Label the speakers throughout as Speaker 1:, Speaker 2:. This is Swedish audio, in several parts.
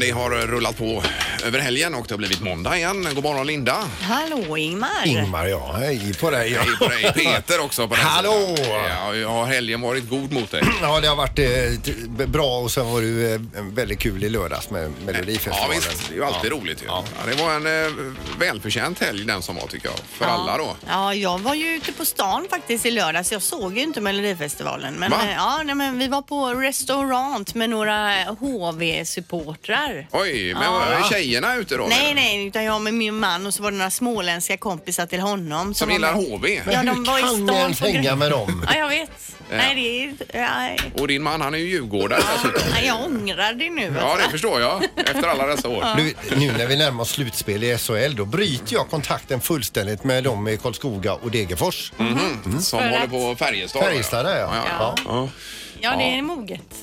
Speaker 1: det har rullat på över helgen och det har blivit måndag igen. God morgon Linda!
Speaker 2: Hallå Ingmar!
Speaker 3: Ingmar, ja. Hej på dig.
Speaker 1: Hej på dig! Peter också på den
Speaker 3: Hallå!
Speaker 1: sidan. Ja, ja, har helgen varit god mot dig?
Speaker 3: Ja, det har varit eh, t- bra och sen var det ju eh, väldigt kul i lördags med
Speaker 1: Ja
Speaker 3: Melodifestivalen.
Speaker 1: visst, det är ju alltid roligt ju. Ja, det var en eh, välförtjänt helg den som var tycker jag, för alla då.
Speaker 2: Ja, jag var ju ute på stan faktiskt i lördags. Jag såg ju inte Melodifestivalen. Men,
Speaker 1: Va?
Speaker 2: eh, ja, nej, men vi var på restaurant med några HV-supportrar.
Speaker 1: Oj, men var det tjejerna ute då?
Speaker 2: Nej, nej, utan jag med min man och så var det några småländska kompisar till honom.
Speaker 1: Som
Speaker 2: var
Speaker 1: gillar
Speaker 2: med.
Speaker 1: HV?
Speaker 2: Ja,
Speaker 3: Hur
Speaker 2: de var i
Speaker 3: kan
Speaker 2: stan
Speaker 3: ni ens
Speaker 2: på grund-
Speaker 3: hänga med dem?
Speaker 2: Ja, jag vet. Nej, det är... Nej.
Speaker 1: Och din man han är ju djurgårdare dessutom.
Speaker 2: Nej, Jag ångrar det nu.
Speaker 1: Ja, det förstår jag efter alla dessa år.
Speaker 3: Du, nu när vi närmar oss slutspel i SHL då bryter jag kontakten fullständigt med dem i Karlskoga och Degerfors.
Speaker 1: Mm. Som
Speaker 2: För
Speaker 1: håller
Speaker 2: att-
Speaker 1: på Färjestad.
Speaker 3: Färjestad där, ja.
Speaker 1: Ja,
Speaker 3: ja.
Speaker 1: Ja.
Speaker 2: Ja, det är moget.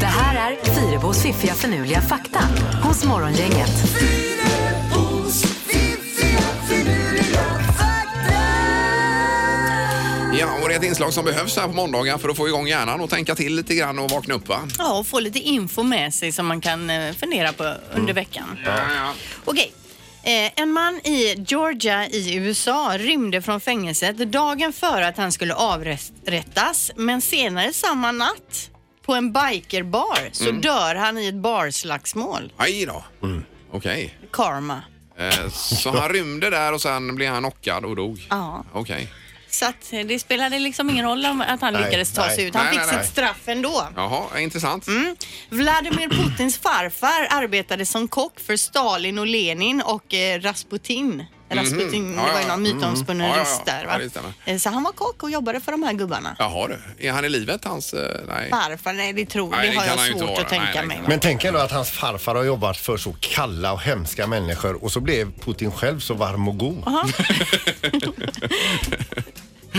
Speaker 4: Det här är Fyrabos fiffiga förnuliga fakta hos Morgongänget.
Speaker 1: Ja, och det är ett inslag som behövs här på måndagar för att få igång hjärnan och tänka till lite grann och vakna upp va?
Speaker 2: Ja, och få lite info med sig som man kan eh, fundera på
Speaker 1: Mm.
Speaker 2: under veckan.
Speaker 1: Ja, ja.
Speaker 2: Okej. Eh, En man i Georgia i USA rymde från fängelset dagen före att han skulle avrättas men senare samma natt på en bikerbar så
Speaker 1: Mm.
Speaker 2: dör han i ett barslagsmål.
Speaker 1: Aj då. Okej.
Speaker 2: Karma.
Speaker 1: Eh, Så han rymde där och sen blev han knockad och dog?
Speaker 2: Ja.
Speaker 1: Okej.
Speaker 2: Så att eh, det spelade liksom ingen roll om att han
Speaker 3: Nej,
Speaker 2: lyckades ta
Speaker 3: nej.
Speaker 2: sig ut. Han
Speaker 1: Nej,
Speaker 2: fick
Speaker 1: nej, nej.
Speaker 2: sitt straff ändå.
Speaker 1: Jaha, intressant.
Speaker 2: Mm. Vladimir Putins farfar arbetade som kock för Stalin och Lenin och eh, Rasputin. Rasputin,
Speaker 1: Mhm. Ja,
Speaker 2: det var ju
Speaker 1: ja,
Speaker 2: någon
Speaker 1: Mhm.
Speaker 2: mytomspunnen
Speaker 1: Ja, ja,
Speaker 2: ryss
Speaker 1: ja.
Speaker 2: där
Speaker 1: Ja,
Speaker 2: va?
Speaker 1: det stämmer.
Speaker 2: Eh, så han var kock och jobbade för de här gubbarna.
Speaker 1: Jaha du. Är han i livet hans... eh, Nej.
Speaker 2: Farfar, nej det tror
Speaker 1: Nej,
Speaker 2: det
Speaker 1: det
Speaker 2: har
Speaker 1: kan
Speaker 2: jag
Speaker 1: han ju inte
Speaker 2: svårt
Speaker 1: vara.
Speaker 2: att tänka
Speaker 1: Nej,
Speaker 2: mig.
Speaker 1: nej,
Speaker 3: Men tänk ändå att hans farfar har jobbat för så kalla och hemska människor och så blev Putin själv så varm och god.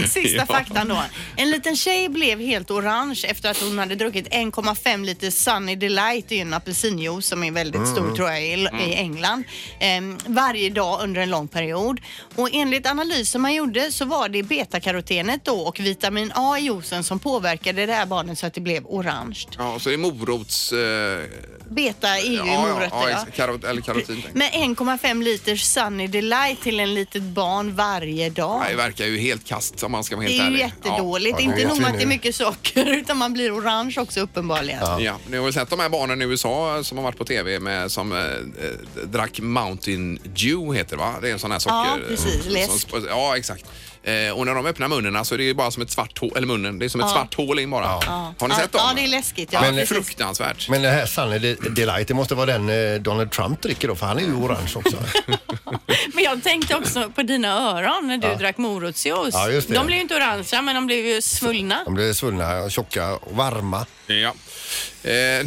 Speaker 2: Sista faktan då. En liten tjej blev helt orange efter att hon hade druckit 1,5 liter Sunny Delight. Det är ju en apelsinjuice som är väldigt
Speaker 1: Mm.
Speaker 2: stor tror jag i, i England. Ehm, varje dag under en lång period. Och enligt analysen man gjorde så var det betakarotenet då och vitamin A i juicen som påverkade det här barnet så att det blev orange.
Speaker 1: Ja, så det är morots... eh,
Speaker 2: Beta är ju
Speaker 1: ja,
Speaker 2: morötter ja.
Speaker 1: ja, karot, eller karotin. tänker jag.
Speaker 2: Men 1,5 liter Sunny Delight till en litet barn varje dag.
Speaker 1: Nej, det verkar ju helt kast om man ska vara
Speaker 2: Det
Speaker 1: helt
Speaker 2: är ju
Speaker 1: ärlig.
Speaker 2: jättedåligt.
Speaker 3: Ja,
Speaker 2: inte
Speaker 3: det
Speaker 2: nog
Speaker 3: vet vi
Speaker 2: med att det är
Speaker 3: nu.
Speaker 2: mycket socker utan man blir orange också uppenbarligen.
Speaker 1: Ja. Ja, ni har väl sett de här barnen i USA som har varit på TV med, som eh, eh, drack Mountain Dew heter det va? Det är en sån här socker...
Speaker 2: Ja, precis. Läsk.
Speaker 1: Som, ja, exakt. Eh, och när de öppnar munnen så är det ju bara som ett svart hål, eller munnen, det är som ett svart hål in bara. Har ni
Speaker 2: Ja,
Speaker 1: sett dem?
Speaker 2: ja, det är läskigt, ja,
Speaker 1: Men,
Speaker 2: precis.
Speaker 1: fruktansvärt.
Speaker 3: Men det här Sunny De- Delight, det måste vara den eh, Donald Trump dricker då, för han är ju orange också.
Speaker 2: Men jag tänkte också på dina öron när du drack morotsjuice.
Speaker 3: Ja, just det.
Speaker 2: de blev ju inte orangea men de blev ju svullna.
Speaker 3: De blir svullna, tjocka och varma.
Speaker 1: Ja. Eh,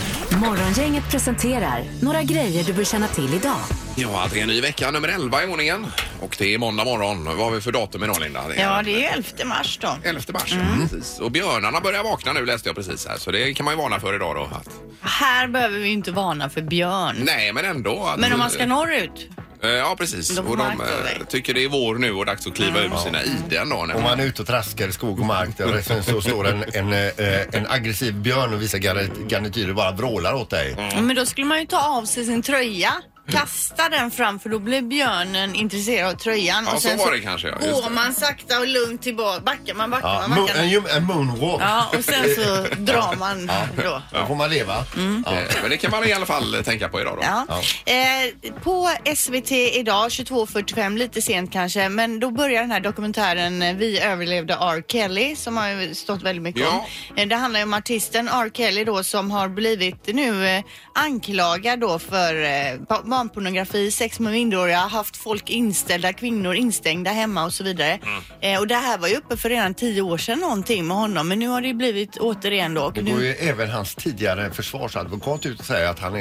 Speaker 4: Morgongänget presenterar några grejer du bör känna till idag.
Speaker 1: ja, det är en ny vecka, nummer 11 i ordningen. Och det är måndag morgon. Vad har vi för datum idag Linda? Det är
Speaker 2: Ja, det är Mm. ju 11 mars då.
Speaker 1: 11 mars. ja, Precis. Och björnarna börjar vakna nu läste jag precis här. Så det kan man ju varna för idag då. Att,
Speaker 2: Här behöver vi ju inte varna för björn.
Speaker 1: nej, men ändå. Att,
Speaker 2: Men om man ska norrut?
Speaker 1: Eh, Ja, precis.
Speaker 2: De får
Speaker 1: och de
Speaker 2: makt över dig.
Speaker 1: eh, tycker det är vår nu och dags att kliva ur sina iden då.
Speaker 3: Om man är ute och traskar i skog och mark där och sen så står en, en, eh, en aggressiv björn och visar garni- garnityr och bara vrålar åt dig.
Speaker 2: Men då skulle man ju ta av sig sin tröja. Kasta den fram för då blir björnen intresserad av tröjan.
Speaker 1: Ja,
Speaker 2: och
Speaker 1: så
Speaker 2: sen
Speaker 1: var det kanske, ja, just
Speaker 2: går
Speaker 1: det.
Speaker 2: man sakta och lugnt tillbaka. Backar man, backar
Speaker 3: Ja,
Speaker 2: man,
Speaker 3: mo-
Speaker 2: backar man.
Speaker 3: en, ju- en moonwalk.
Speaker 2: Ja, och sen så drar man då.
Speaker 3: Då får man leva.
Speaker 2: Mm.
Speaker 1: Eh, Men det kan man i alla fall eh, tänka på idag då.
Speaker 2: Ja. Eh, på SVT idag 22.45, lite sent kanske, men då börjar den här dokumentären eh, Vi överlevde R. Kelly som har ju stått väldigt mycket
Speaker 1: Ja.
Speaker 2: om. Eh, det handlar ju om artisten R. Kelly då som har blivit nu eh, anklagad då för eh, ba- barnpornografi, sex med minderåriga, haft folk inställda, kvinnor instängda hemma och så vidare. Eh, och det här var ju uppe för redan tio år sedan någonting med honom, men nu har det ju blivit återigen då. Och
Speaker 3: Då
Speaker 2: nu
Speaker 3: går ju även hans tidigare försvarsadvokat ut och säger att han är,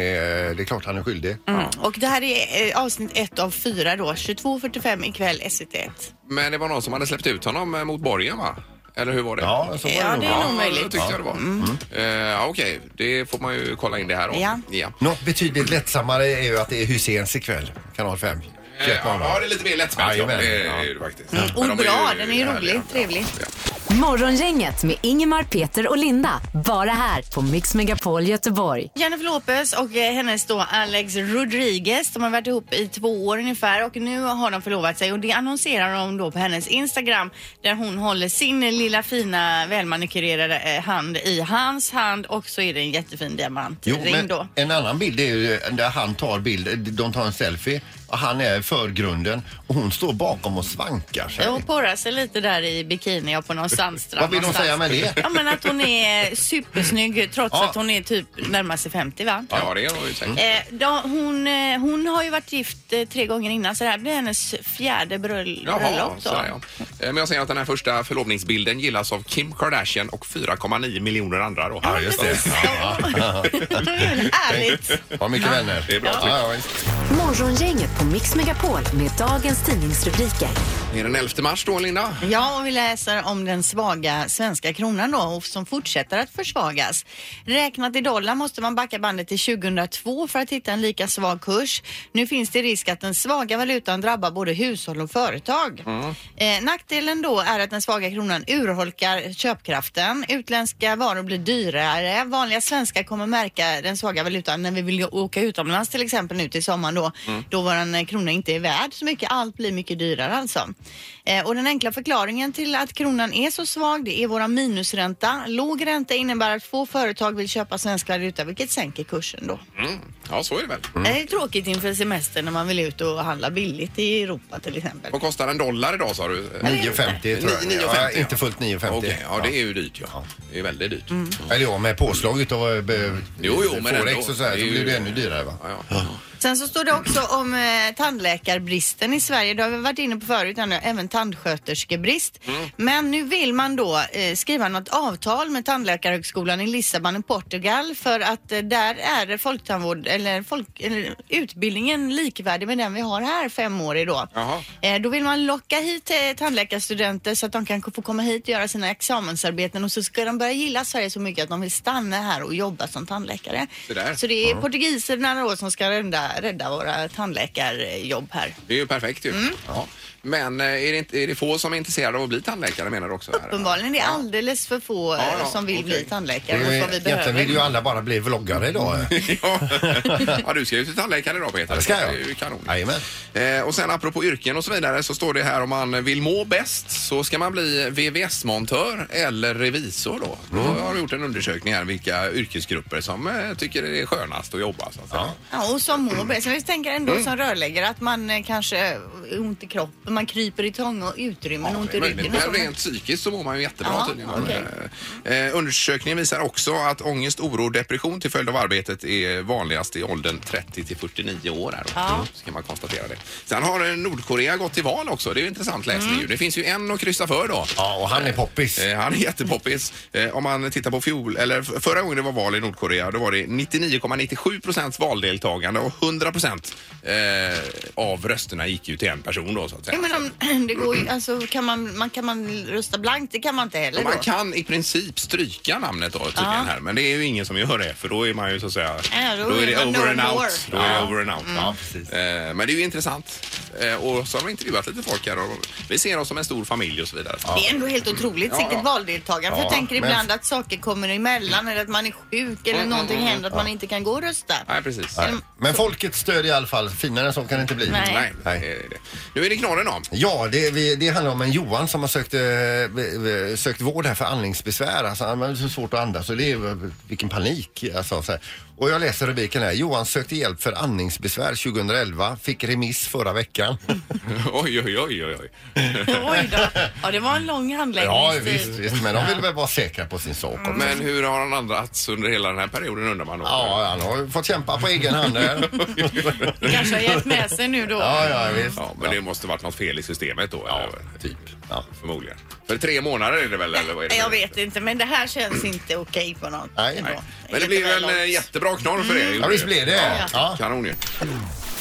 Speaker 3: det är klart han är skyldig.
Speaker 2: Mm. Och det här är eh, avsnitt ett av fyra då, 22.45 ikväll SVT1.
Speaker 1: Men det var någon som hade släppt ut honom eh, mot borgen va? Eller hur var det?
Speaker 3: Ja, så var
Speaker 2: Ja,
Speaker 3: nog.
Speaker 2: det är nog
Speaker 1: Ja, det
Speaker 2: möjligt. Mm.
Speaker 1: tyckte jag det var. Eh, ja, Okej, det får man ju kolla in det här om.
Speaker 2: Ja.
Speaker 1: ja.
Speaker 3: Något betydligt lättsammare är ju att det är Husseins ikväll, kanal 5. lättlätt
Speaker 1: Eh, Ja,
Speaker 3: bara.
Speaker 1: det är lite mer lättsmält. Ja,
Speaker 3: Jajamän.
Speaker 1: det är
Speaker 3: Ja.
Speaker 1: det faktiskt.
Speaker 2: Mm,
Speaker 1: Men
Speaker 2: och
Speaker 1: de
Speaker 2: bra,
Speaker 1: ju
Speaker 2: den är ju
Speaker 1: härliga.
Speaker 2: rolig, trevlig.
Speaker 1: Ja.
Speaker 4: Morgongänget med Ingemar, Peter och Linda. Bara här på Mix Megapol Göteborg.
Speaker 2: Jennifer Lopez och eh, hennes då Alex Rodriguez. De har varit ihop i två år ungefär och nu har de förlovat sig och det annonserar de då på hennes Instagram där hon håller sin lilla fina välmanikurerade eh, hand i hans hand och så är det en jättefin diamantring då.
Speaker 3: en annan bild är ju eh, där han tar bild, eh, de tar en selfie och han är förgrunden och hon står bakom och svankar sig.
Speaker 2: Ja, Hon porrar sig lite där i bikini och på någon sandstrand.
Speaker 3: Vad vill hon
Speaker 2: någonstans.
Speaker 3: säga med det?
Speaker 2: Ja, men att hon är supersnygg trots
Speaker 3: Ja.
Speaker 2: att hon är typ närmar sig 50 va?
Speaker 1: Ja, det är de ju
Speaker 3: Mm.
Speaker 1: säkert.
Speaker 2: Eh, då, hon, eh, hon har ju varit gift eh, tre gånger innan så det här blir hennes fjärde bröll- bröllop.
Speaker 1: Jaha,
Speaker 2: då.
Speaker 1: sådär, ja. Eh, Men jag ser att den här första förlovningsbilden gillas av Kim Kardashian och 4,9 miljoner andra då.
Speaker 3: Ja, just det. Ja, ja.
Speaker 2: Ärligt.
Speaker 3: Har mycket vänner.
Speaker 1: Det är bra.
Speaker 3: Ja, ja, visst.
Speaker 4: Morgongänget på Mix Megapol med dagens tidningsrubriker.
Speaker 1: Det är den 11 mars då, Linda.
Speaker 2: Ja, och vi läser om den svaga svenska kronan då och som fortsätter att försvagas. Räknat i dollar måste man backa bandet till 2002 för att hitta en lika svag kurs. Nu finns det risk att den svaga valutan drabbar både hushåll och företag. Eh, nackdelen då är att den svaga kronan urholkar köpkraften. Utländska varor blir dyrare. Vanliga svenskar kommer märka den svaga valutan när vi vill åka utomlands till exempel nu till sommaren då, då våran eh, krona inte är värd så mycket. Allt blir mycket dyrare alltså. Eh, och den enkla förklaringen till att kronan är så svag det är våran minusränta. Låg ränta innebär att få företag vill köpa svensk valuta vilket sänker kursen då.
Speaker 1: Ja, så är det väl.
Speaker 3: Mm.
Speaker 2: Det är tråkigt inför semestern när man vill ut och handla billigt i Europa till exempel.
Speaker 1: Vad kostar en dollar idag sa du?
Speaker 3: 9,50 tror jag.
Speaker 1: 9,50,
Speaker 3: ja,
Speaker 1: ja.
Speaker 3: inte fullt 9,50.
Speaker 1: Okej, ja det är ju dyrt ja. Det är väldigt dyrt.
Speaker 3: Eller ja, med påslag utav eh, be-
Speaker 1: Jo, jo, men
Speaker 3: Forex
Speaker 1: ändå.
Speaker 3: och så här
Speaker 1: Det
Speaker 3: så
Speaker 1: är ju-
Speaker 3: blir det ännu dyrare va?
Speaker 1: Ja, ja.
Speaker 2: Sen så står det också om eh, tandläkarbristen i Sverige. Det har vi varit inne på förut, ändå, även tandsköterskebrist. Men nu vill man då eh, skriva något avtal med Tandläkarhögskolan i Lissabon i Portugal för att eh, där är folktandvård, eller, folk, eller utbildningen likvärdig med den vi har här, femårig då.
Speaker 1: Jaha.
Speaker 2: Eh, då vill man locka hit eh, tandläkarstudenter så att de kan få komma hit och göra sina examensarbeten och så ska de börja gilla Sverige så mycket att de vill stanna här och jobba som tandläkare.
Speaker 1: Det där.
Speaker 2: Så det är portugiserna då som ska rädda, rädda våra tandläkarjobb här.
Speaker 1: Det är ju perfekt ju.
Speaker 3: Mm.
Speaker 1: Ja. Men eh, är det, inte, är det få som är intresserade av att bli tandläkare menar du också? här?
Speaker 2: Uppenbarligen, det är alldeles för få eh,
Speaker 1: Ja, ja,
Speaker 2: som vill
Speaker 1: okej.
Speaker 2: bli tandläkare och som vi
Speaker 3: Egentligen vill ju
Speaker 2: behöver.
Speaker 3: alla bara bli vloggare idag. eh.
Speaker 1: ja. ja, du ska ju till tandläkaren idag Peter.
Speaker 3: Ja, det ska jag.
Speaker 1: Det är ju kanon.
Speaker 3: Jajamän.
Speaker 1: Eh, och sen apropå yrken och så vidare så står det här om man vill må bäst så ska man bli VVS-montör eller revisor då. Då har du gjort en undersökning här vilka yrkesgrupper som eh, tycker det är skönast att jobba så att säga.
Speaker 2: Ja, och som mår bäst. Men vi tänker ändå
Speaker 1: Mm.
Speaker 2: som rörläggare att man eh, kanske eh, ont i kroppen, man kryper i tång och utrymmen, ont i
Speaker 1: Men
Speaker 2: ryggen. och så.
Speaker 1: men rent psykiskt så mår man ju jättebra
Speaker 2: Ja,
Speaker 1: tydligen.
Speaker 2: okej.
Speaker 1: Eh, undersökningen visar också att ångest, oro och depression till följd av arbetet är vanligast i åldern 30 till 49 år. Här då.
Speaker 2: Ja.
Speaker 1: Så kan man konstatera det. Sen har eh, Nordkorea gått till val också. Det är ju intressant läsning.
Speaker 2: Mm.
Speaker 1: ju. Det finns ju en att kryssa för då.
Speaker 3: Ja, och han är poppis.
Speaker 1: Eh, Han är jättepoppis. Eh, Om man tittar på fjol, eller f- förra gången det var val i Nordkorea, då var det 99,97 procents valdeltagande och 100 procent eh, av rösterna gick ju till en person då så att säga.
Speaker 2: Ja, men om, det går ju, alltså, kan, man, man, kan man rösta blankt? Det kan man inte heller
Speaker 1: Och man
Speaker 2: då.
Speaker 1: kan i princip stryka namnet då tydligen
Speaker 2: Ja.
Speaker 1: här men det är ju ingen som gör det för då är man ju så att säga
Speaker 2: Ja, då
Speaker 1: är
Speaker 2: är
Speaker 1: det
Speaker 2: man
Speaker 1: over
Speaker 2: no
Speaker 1: and
Speaker 2: more. Mm.
Speaker 1: out. Då är det over and out. Ja, precis. Eh, Men det är ju intressant. Eh, Och så har vi intervjuat lite folk här och vi ser oss som en stor familj och så vidare.
Speaker 2: Det är ändå helt otroligt
Speaker 1: Ja.
Speaker 2: vilket valdeltagande. För jag
Speaker 3: Ja,
Speaker 2: tänker
Speaker 3: men-
Speaker 2: ibland att saker kommer emellan eller att man är sjuk
Speaker 1: Mm,
Speaker 2: eller någonting händer att man inte kan gå och rösta.
Speaker 1: Nej precis.
Speaker 3: Nej. Men folkets stöd i alla fall. Finare än så kan det inte bli.
Speaker 2: Nej.
Speaker 1: Nej.
Speaker 3: Nej.
Speaker 1: det är det. Nu är det knorren då.
Speaker 3: Ja, det, vi, det handlar om en Johan som har sökt, eh, v- v- sökt vård här för andningsbesvär. Alltså, han har så svårt att andas och det är, eh, vilken panik. Alltså, så här. Och jag läser rubriken här. Johan sökte hjälp för andningsbesvär 2011, fick remiss förra veckan.
Speaker 1: Oj, oj, oj, oj, oj.
Speaker 2: Oj då. Ja, det var en lång
Speaker 3: ja,
Speaker 2: handläggningstid.
Speaker 3: visst, visst, men de vill väl vara säkra på sin sak. också.
Speaker 1: Men hur har han andrats under hela den här perioden undrar man då?
Speaker 3: Ja, han har ju fått kämpa på egen hand här.
Speaker 2: Kanske har hjälpt med sig nu då.
Speaker 3: Ja, ja, visst.
Speaker 1: Ja, men det måste varit något fel i systemet då? Ja, typ.
Speaker 3: Ja.
Speaker 1: Förmodligen. För tre månader är det väl? Eller vad är det?
Speaker 2: Jag vet inte, men det här känns inte okej på något.
Speaker 3: Nej.
Speaker 2: ändå.
Speaker 3: Nej.
Speaker 1: Men det
Speaker 2: Lite
Speaker 1: blir
Speaker 2: väl
Speaker 1: väl
Speaker 2: långt.
Speaker 1: en eh, jättebra knorr för er?
Speaker 3: Ja, visst blir det.
Speaker 1: Ja.
Speaker 3: Ja.
Speaker 1: Kanon ju.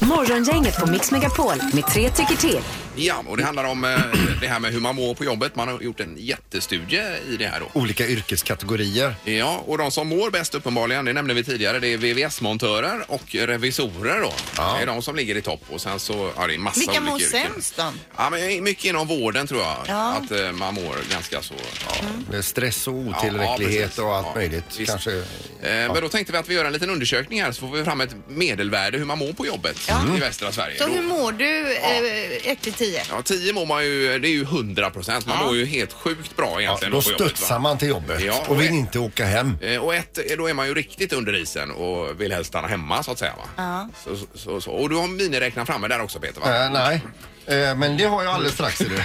Speaker 4: Morgongänget på Mix Megapol med tre tycker till.
Speaker 1: Ja, och det handlar om eh, det här med hur man mår på jobbet. Man har gjort en jättestudie i det här då.
Speaker 3: Olika yrkeskategorier.
Speaker 1: Ja, och de som mår bäst uppenbarligen, det nämnde vi tidigare, det är VVS-montörer och revisorer då. Det är de som ligger i topp och sen så, ja det är massa
Speaker 2: Vilka
Speaker 1: olika
Speaker 2: mår
Speaker 1: yrken.
Speaker 2: sämst då?
Speaker 1: Ja, men mycket inom vården tror jag.
Speaker 2: Ja.
Speaker 1: Att eh, man mår ganska så. Ja.
Speaker 3: Med stress och
Speaker 1: Ja, ja,
Speaker 3: otillräcklighet
Speaker 1: precis.
Speaker 3: och allt
Speaker 1: Ja,
Speaker 3: möjligt.
Speaker 1: visst.
Speaker 3: Kanske.
Speaker 1: Eh, Men då tänkte vi att vi gör en liten undersökning här så får vi fram ett medelvärde hur man mår på jobbet i västra Sverige.
Speaker 2: Så
Speaker 1: Då-
Speaker 2: hur mår du eh, 1 till 10?
Speaker 1: Ja, 10 mår man ju, det är ju 100 procent. Man
Speaker 2: Ja.
Speaker 1: mår ju helt sjukt bra
Speaker 3: Ja,
Speaker 1: egentligen.
Speaker 3: då
Speaker 1: på jobbet, va?
Speaker 3: studsar man till jobbet
Speaker 1: Ja, och
Speaker 3: och vill
Speaker 1: ett-
Speaker 3: inte åka hem.
Speaker 1: Eh, Och ett, eh, då är man ju riktigt under isen och vill helst stanna hemma så att säga. Va? Så, så, så. Och du har miniräknaren framme där också Peter va?
Speaker 3: Eh, nej, Eh, men det har jag alldeles strax. Är det.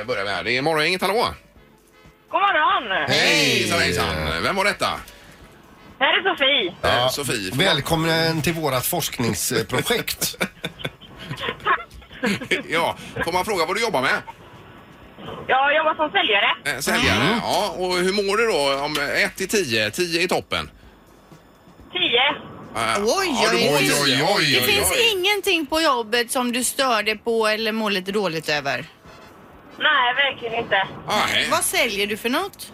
Speaker 1: Eh, börjar vi här. Det är morgongänget, hallå!
Speaker 5: God morgon!
Speaker 1: Hejsan hejsan! Vem var detta?
Speaker 5: Här är Sofie.
Speaker 1: Eh, Sofie.
Speaker 3: Välkommen till vårat forskningsprojekt.
Speaker 1: ja, får man fråga vad du jobbar med?
Speaker 5: Jag jobbar som säljare.
Speaker 1: Eh, säljare.
Speaker 3: Mm.
Speaker 1: Ja, och hur mår du då? Om 1 till 10, 10 i toppen.
Speaker 5: 10.
Speaker 1: Eh,
Speaker 2: Oj,
Speaker 1: ja, du
Speaker 2: oj,
Speaker 1: mår
Speaker 2: oj,
Speaker 1: ju-
Speaker 3: oj, oj,
Speaker 2: Det finns ingenting på jobbet som du stör dig på eller mår lite dåligt över.
Speaker 5: Nej, verkligen inte.
Speaker 1: Ah, hej.
Speaker 2: Vad säljer du för något?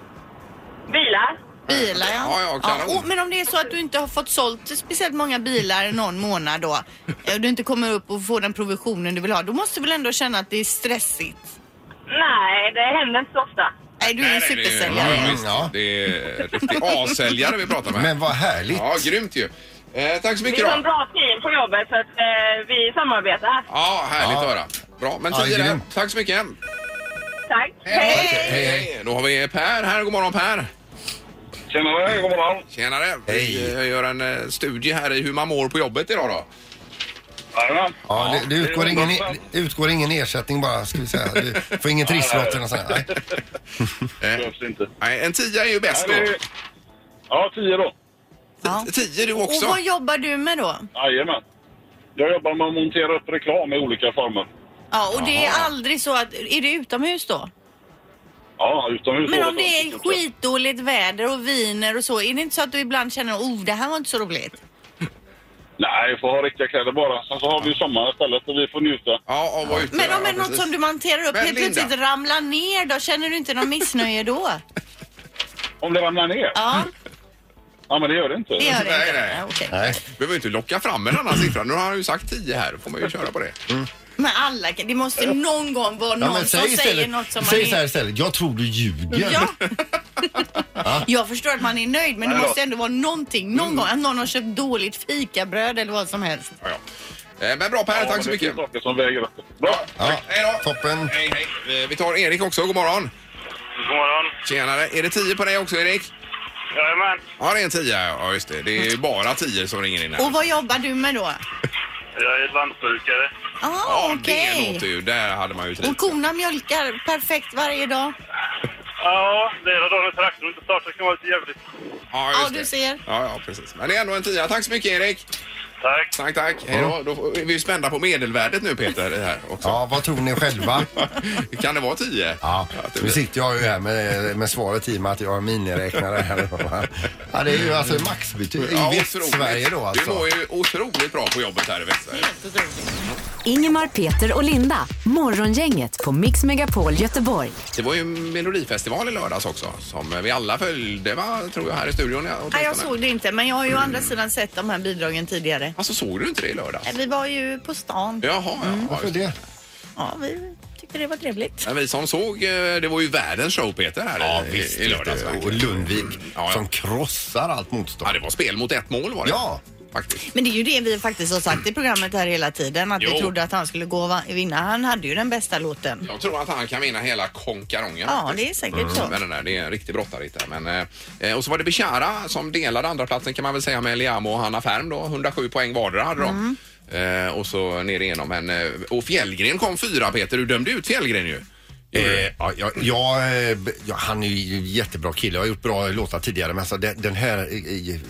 Speaker 5: Bilar.
Speaker 2: Bilar ja.
Speaker 1: Ja, ja, kanon.
Speaker 2: och, men om det är så att du inte har fått sålt speciellt många bilar någon månad då och du inte kommer upp och får den provisionen du vill ha, då måste du väl ändå känna att det är stressigt?
Speaker 5: Nej, det händer inte så ofta.
Speaker 2: Nej, du är en
Speaker 1: Nej, nej, det är-
Speaker 2: supersäljare.
Speaker 1: Ja, visst.
Speaker 3: Ja.
Speaker 1: Det är riktig A-säljare vi pratar med.
Speaker 3: Men vad härligt.
Speaker 1: Ja, grymt ju. Eh, tack så
Speaker 5: Vi
Speaker 1: mycket
Speaker 5: är ett
Speaker 1: då.
Speaker 5: bra team på jobbet så att eh, vi samarbetar.
Speaker 1: Ja, härligt
Speaker 3: Ja.
Speaker 1: att höra. Bra, men
Speaker 3: Ja,
Speaker 1: tio där.
Speaker 3: grymt.
Speaker 1: Tack så mycket.
Speaker 5: Tack.
Speaker 1: Hej, hej. Då har vi Per här. God morgon Per.
Speaker 6: Tjenare, god morgon.
Speaker 1: Tjenare. Vi eh, gör en eh, studie här i hur man mår på jobbet idag då.
Speaker 6: Jajamän.
Speaker 3: Ja, det, det, utgår
Speaker 6: är
Speaker 3: ingen,
Speaker 6: underbart.
Speaker 3: det utgår ingen ersättning bara, ska vi säga. Du får ingen trisslott eller nåt sånt. Nej.
Speaker 6: Det behövs inte.
Speaker 1: Eh, Nej, en tia är ju
Speaker 6: Nej,
Speaker 1: bäst då.
Speaker 6: det är- Ja, tio då.
Speaker 2: Ja.
Speaker 1: T- Tio du
Speaker 2: Och
Speaker 1: också.
Speaker 2: vad jobbar du med då?
Speaker 6: Jajamän. Jag jobbar med att montera upp reklam i olika former.
Speaker 2: Ja, och det är aldrig så att, är det utomhus då?
Speaker 6: Ja, utomhus.
Speaker 2: Men
Speaker 6: då,
Speaker 2: om det är
Speaker 6: då.
Speaker 2: skitdåligt väder och viner och så, är det inte så att du ibland känner oh det här var inte så roligt?
Speaker 6: Nej, jag får ha riktiga kläder bara. Sen så har vi ju sommaren istället och vi får njuta.
Speaker 1: Ja, och var ute.
Speaker 2: Men om det
Speaker 1: ja,
Speaker 2: är något
Speaker 1: precis.
Speaker 2: som du monterar upp
Speaker 1: Men
Speaker 2: helt
Speaker 1: Linda.
Speaker 2: plötsligt ramlar ner då, känner du inte någon missnöje då?
Speaker 6: Om det ramlar ner?
Speaker 2: Ja,
Speaker 6: Ja, men det gör det inte.
Speaker 2: det gör det
Speaker 1: Nej,
Speaker 2: inte.
Speaker 1: nej.
Speaker 2: Ja, okej.
Speaker 3: Nej.
Speaker 1: behöver ju inte locka fram en annan siffra. Nu har han ju sagt tio här. Då får man ju köra på det.
Speaker 2: Men alla, kan- det måste någon gång vara
Speaker 3: Ja,
Speaker 2: någon
Speaker 3: men
Speaker 2: som
Speaker 3: säg
Speaker 2: säger något som
Speaker 3: istället,
Speaker 2: man
Speaker 3: säg så här
Speaker 2: är...
Speaker 3: istället. Jag tror du ljuger.
Speaker 2: Ja. Jag förstår att man är nöjd men det
Speaker 6: Nej då.
Speaker 2: måste ändå vara någonting. Någon gång att någon har köpt dåligt fikabröd eller vad som helst.
Speaker 1: Ja, ja. Eh, Men bra Per,
Speaker 6: Ja, men
Speaker 1: tack så
Speaker 6: det
Speaker 1: mycket.
Speaker 6: finns saker som väger upp. Bra.
Speaker 3: Ja,
Speaker 1: Tack. Hej då.
Speaker 3: toppen.
Speaker 1: Hej, hej. Eh, Vi tar Erik också. God morgon.
Speaker 6: God morgon.
Speaker 1: Tjenare. Är det 10 på dig också, Erik?
Speaker 6: Jajamän.
Speaker 1: Ja, det är en 10. Ja, just det. Det är ju bara 10 som ringer in här.
Speaker 2: Och vad jobbar du med då?
Speaker 6: Jag är lantbrukare.
Speaker 2: Ah,
Speaker 1: ja, det
Speaker 2: okej.
Speaker 1: låter ju... Där hade man ju trivts.
Speaker 2: Och korna mjölkar perfekt varje dag.
Speaker 6: Ja, det är då när traktorn inte startar kan vara lite jävligt.
Speaker 1: Ja,
Speaker 2: Ja, du
Speaker 1: det.
Speaker 2: ser.
Speaker 1: Ja, ja, precis. Men det är ändå en 10. Tack så mycket, Erik.
Speaker 6: Tack.
Speaker 1: Tack, tack. Hej då. Då är vi ju spända på medelvärdet nu, Peter, det här också.
Speaker 3: Ja, vad tror ni själva?
Speaker 1: Kan det vara 10?
Speaker 3: Ja,
Speaker 1: Att det
Speaker 3: nu
Speaker 1: blir-
Speaker 3: sitter jag ju här med, med svaret i och med att jag har en miniräknare här. Ja, det är ju alltså maxbetyg i
Speaker 1: Ja, otroligt.
Speaker 3: Västsverige då
Speaker 1: Du
Speaker 3: alltså.
Speaker 1: mår ju otroligt bra på jobbet här i Västsverige.
Speaker 4: Ingemar, Peter och Linda. Morgongänget på Mix Megapol Göteborg.
Speaker 1: Det var ju Melodifestival i lördags också som vi alla följde, va? tror jag, här i studion. ja,
Speaker 2: Nej, jag
Speaker 1: åtminstone.
Speaker 2: såg det inte men jag har ju å andra sidan sett de här bidragen tidigare.
Speaker 1: Alltså, såg du inte det i lördags?
Speaker 2: Nej, Vi var ju på stan.
Speaker 1: Jaha, ja. ja.
Speaker 3: Varför
Speaker 1: just
Speaker 3: det?
Speaker 2: Ja, vi tyckte det var trevligt.
Speaker 1: Men vi som såg, eh, det var ju världens show Peter här i, i lördags.
Speaker 3: Och
Speaker 1: verkligen.
Speaker 3: Lundvik
Speaker 1: Ja, ja.
Speaker 3: som krossar allt motstånd.
Speaker 1: Ja, det var spel mot ett mål var det.
Speaker 3: Ja.
Speaker 1: Faktiskt.
Speaker 2: Men det är ju det vi faktiskt har sagt i programmet här hela tiden att
Speaker 1: Jo.
Speaker 2: vi trodde att han skulle gå och va- vinna. Han hade ju den bästa låten.
Speaker 1: Jag tror att han kan vinna hela konkarongen.
Speaker 2: Ja,
Speaker 1: faktiskt.
Speaker 2: det är säkert så.
Speaker 1: Men den där, det är en riktig brottarritt där. Men, eh, och så var det Bechara som delade andra platsen kan man väl säga med Liamo och Hanna Färm då. 107 poäng vardera hade de.
Speaker 2: Mm.
Speaker 1: Eh, och så ner igenom. Men, eh, och Fjällgren kom fyra Peter. Du dömde ut Fjällgren ju.
Speaker 3: Eh, ja, jag, jag, eh, ja, han är ju en jättebra kille. Jag har gjort bra låtar tidigare men alltså, den, den här eh, eh,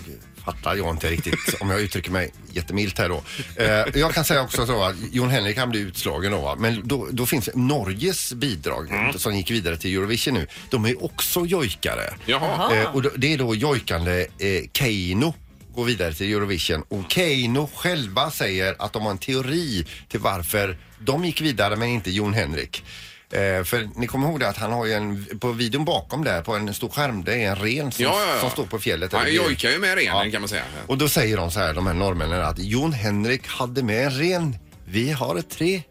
Speaker 3: fattar jag inte riktigt om jag uttrycker mig jättemilt här då. Eh, jag kan säga också så att Jon Henrik han blir utslagen då va? men då, då finns Norges bidrag som gick vidare till Eurovision nu. De är också jojkare.
Speaker 1: Jaha.
Speaker 2: Jaha.
Speaker 3: Eh, och då- det är då jojkande eh, Keino gå vidare till Eurovision. Och Keino själva säger att de har en teori till varför de gick vidare men inte Jon Henrik. Eh, för ni kommer ihåg det att han har ju en, på videon bakom där på en stor skärm, det är en ren som,
Speaker 1: Ja, ja, ja.
Speaker 3: som står på fjället.
Speaker 1: Han jojkar ju med renen
Speaker 3: Ja.
Speaker 1: kan man säga.
Speaker 3: Och då säger de så här, de här norrmännen, att Jon Henrik hade med en ren. Vi har ett tre.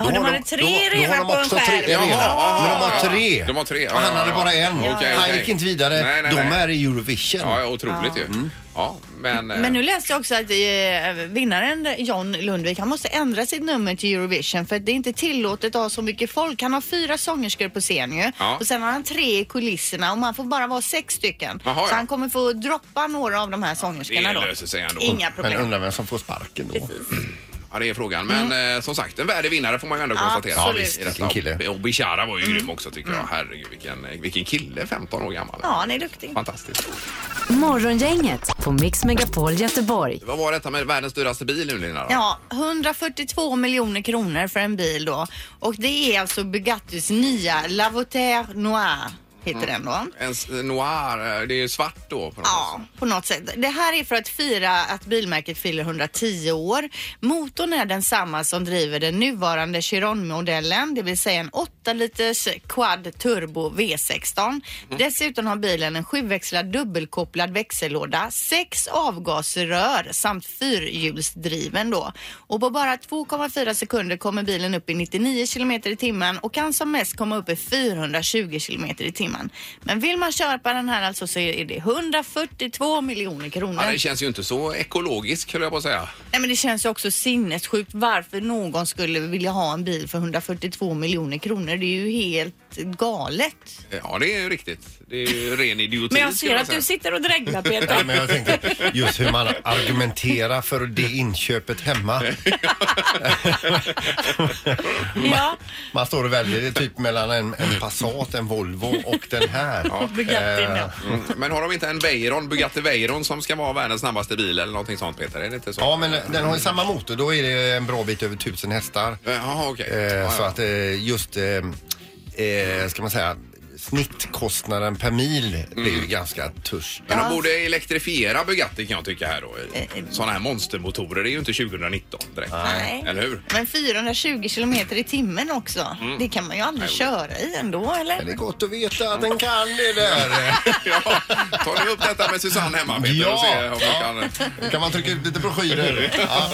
Speaker 7: Ja,
Speaker 3: Då
Speaker 7: de
Speaker 3: har
Speaker 7: hade tre
Speaker 3: då, då
Speaker 7: renar
Speaker 3: har de
Speaker 7: på en
Speaker 3: också
Speaker 7: skärm.
Speaker 3: tre renar.
Speaker 1: Jaha,
Speaker 3: Men de
Speaker 1: ja, ja.
Speaker 3: har tre.
Speaker 1: De har tre, ja,
Speaker 3: Och han
Speaker 1: ja,
Speaker 3: hade
Speaker 1: ja.
Speaker 3: bara en.
Speaker 1: Okej,
Speaker 3: han
Speaker 1: okej.
Speaker 3: gick inte vidare.
Speaker 1: Nej, nej,
Speaker 3: de
Speaker 1: nej.
Speaker 3: är i Eurovision.
Speaker 1: Ja, ja otroligt ju. Ja, men... eh,
Speaker 2: Men nu läste jag också att eh, vinnaren John Lundvik, han måste ändra sitt nummer till Eurovision för att det är inte tillåtet att ha så mycket folk. Han har fyra sångerskor på scen ju
Speaker 1: Ja.
Speaker 2: och sen har han tre i kulisserna och man får bara vara sex stycken.
Speaker 1: Jaha,
Speaker 2: så
Speaker 1: ja.
Speaker 2: han kommer få droppa några av de här sångerskorna
Speaker 1: det
Speaker 2: då.
Speaker 1: löser sig ändå.
Speaker 2: Inga
Speaker 3: Men
Speaker 2: problem.
Speaker 3: undrar vem som får sparken då.
Speaker 1: Ja, det är frågan. Men
Speaker 7: Mm.
Speaker 1: eh, som sagt, en värdig vinnare får man ju ändå konstatera.
Speaker 2: Absolut. Ja, visst,
Speaker 1: I detta.
Speaker 3: vilken kille.
Speaker 1: Och Bishara var ju
Speaker 7: Mm.
Speaker 1: grym också tycker jag. Herregud, vilken, eh, vilken kille. 15 år gammal.
Speaker 2: Ja, han är duktig.
Speaker 1: Fantastiskt.
Speaker 4: Morgongänget på Mix Megapol Göteborg.
Speaker 1: Vad var detta med världens dyraste bil nu Lina? då?
Speaker 2: Ja, 142 miljoner kronor för en bil då. Och det är alltså Bugattis nya La Voiture Noir, heter den då.
Speaker 1: En s- noir, eh, det är ju svart då. På något
Speaker 2: Ja,
Speaker 1: sätt.
Speaker 2: på något sätt. Det här är för att fira att bilmärket fyller 110 år. Motorn är densamma som driver den nuvarande Chiron-modellen, det vill säga en 8 liters quad turbo V16.
Speaker 1: Mm.
Speaker 2: Dessutom har bilen en sjuväxlad dubbelkopplad växellåda, sex avgasrör samt fyrhjulsdriven då. Och på bara 2,4 sekunder kommer bilen upp i 99 km i timmen och kan som mest komma upp i 420 km i timmen. Men vill man köpa den här alltså så är det 142 miljoner kronor.
Speaker 1: Ja, det känns ju inte så ekologiskt skulle jag på att säga.
Speaker 2: Nej, men det känns ju också sinnessjukt varför någon skulle vilja ha en bil för 142 miljoner kronor. Det är ju helt galet.
Speaker 1: Eh, Ja, det är ju riktigt. Det är ju ren idioti.
Speaker 7: Men jag
Speaker 1: skulle
Speaker 7: ser att
Speaker 1: säga.
Speaker 7: du sitter och dreglar
Speaker 3: Ja,
Speaker 7: Peter.
Speaker 3: men jag tänkte just hur man argumenterar för det inköpet hemma.
Speaker 7: Ja.
Speaker 3: Man står och väljer det typ mellan en, en Passat, en Volvo och den här. Eh,
Speaker 7: Bugattin, ja.
Speaker 1: Mm. Men har de inte en Veyron, Bugatti Veyron som ska vara världens snabbaste bil eller någonting sånt Peter? Är det inte så?
Speaker 3: Ja, men den har ju samma motor. Då är det en bra bit över 1000 hästar.
Speaker 1: Eh, Jaha, okej.
Speaker 3: Eh,
Speaker 1: Ja, ja.
Speaker 3: Så att eh, just, eh, eh, ska man säga, snittkostnaden per mil, det
Speaker 1: Mm.
Speaker 3: är ju ganska törst.
Speaker 1: Men de borde elektrifiera Bugatti kan jag tycka här då.
Speaker 2: Eh, eh.
Speaker 1: Sådana här monstermotorer är ju inte 2019 direkt.
Speaker 2: Nej.
Speaker 1: Eller hur?
Speaker 2: Men 420 kilometer i timmen också.
Speaker 1: Mm.
Speaker 2: Det kan man ju aldrig köra i ändå, eller?
Speaker 3: Men det är gott att veta att den kan det där.
Speaker 1: Ja, ta nu upp detta med Susanne hemma Peter och se
Speaker 3: Ja.
Speaker 1: om vi kan...
Speaker 3: kan man trycka ut lite broschyrer? Ja.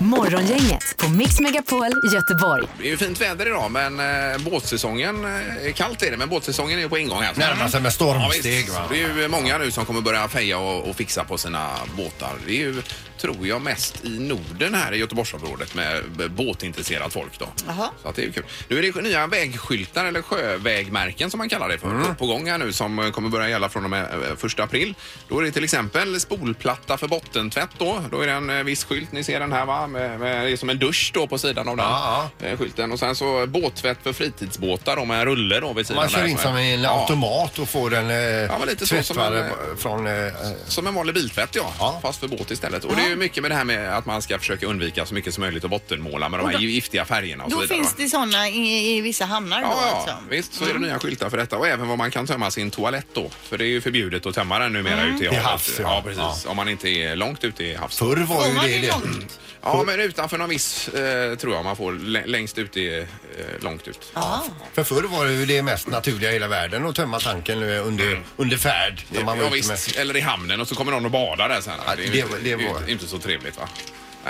Speaker 4: Morgongänget på Mix Megapol Göteborg.
Speaker 1: Det är ju fint väder idag men eh, båtsäsongen, eh, kallt är det men båtsäsongen är ju på ingång här.
Speaker 3: Närmar sig med
Speaker 1: Ja,
Speaker 3: stormsteg
Speaker 1: visst.
Speaker 3: va?
Speaker 1: Det är ju många nu som kommer börja feja och, och fixa på sina båtar. Det är ju, tror jag, mest i Norden här i Göteborgsområdet med b- båtintresserat folk då.
Speaker 2: Jaha.
Speaker 1: Så att det är ju kul. Nu är det nya vägskyltar eller sjövägmärken som man kallar det för
Speaker 3: Mm.
Speaker 1: på, på gång här nu som eh, kommer börja gälla från och med eh, första april. Då är det till exempel spolplatta för bottentvätt då. Då är det en eh, viss skylt, ni ser den här va? Med, med, det är som en dusch då på sidan av den
Speaker 3: Ja,
Speaker 1: eh, skylten. Och sen så båttvätt för fritidsbåtar då med en rulle då vid sidan
Speaker 3: Man kör
Speaker 1: där
Speaker 3: in som en
Speaker 1: Ja.
Speaker 3: automat och får en eh,
Speaker 1: men lite så som
Speaker 3: tvättad,
Speaker 1: en,
Speaker 3: eh, från... Eh,
Speaker 1: Som en vanlig biltvätt ja. Fast för båt istället. Och det är ju mycket med det här med att man ska försöka undvika så mycket som möjligt att bottenmåla med de här giftiga färgerna och så
Speaker 2: Då
Speaker 1: vidare.
Speaker 2: finns
Speaker 1: va?
Speaker 2: det sådana i, i vissa hamnar då
Speaker 1: Ja, ja,
Speaker 2: alltså.
Speaker 1: visst så är det nya skyltar för detta och även var man kan tömma sin toalett då. För det är ju förbjudet att tömma den numera ute i
Speaker 3: Till
Speaker 1: havet.
Speaker 3: havs, ja.
Speaker 1: ja. precis. Om man inte är långt ute i havs.
Speaker 3: förr var
Speaker 2: Får man
Speaker 3: ju det
Speaker 2: det
Speaker 3: det.
Speaker 2: långt?
Speaker 1: Ja, men utanför någon viss eh, tror jag man får lä- längst ut i, eh, långt ut.
Speaker 2: Ja.
Speaker 3: För förr var det ju det mest naturliga i hela världen att tömma tanken eh, under, under färd. när man var
Speaker 1: Mm. ja,
Speaker 3: ute
Speaker 1: visst.
Speaker 3: med-
Speaker 1: Eller i hamnen och så kommer någon och badar där sen.
Speaker 3: Ja,
Speaker 1: är ju
Speaker 3: det-
Speaker 1: inte-
Speaker 3: det
Speaker 1: är ju
Speaker 3: var-
Speaker 1: inte, inte så trevligt va?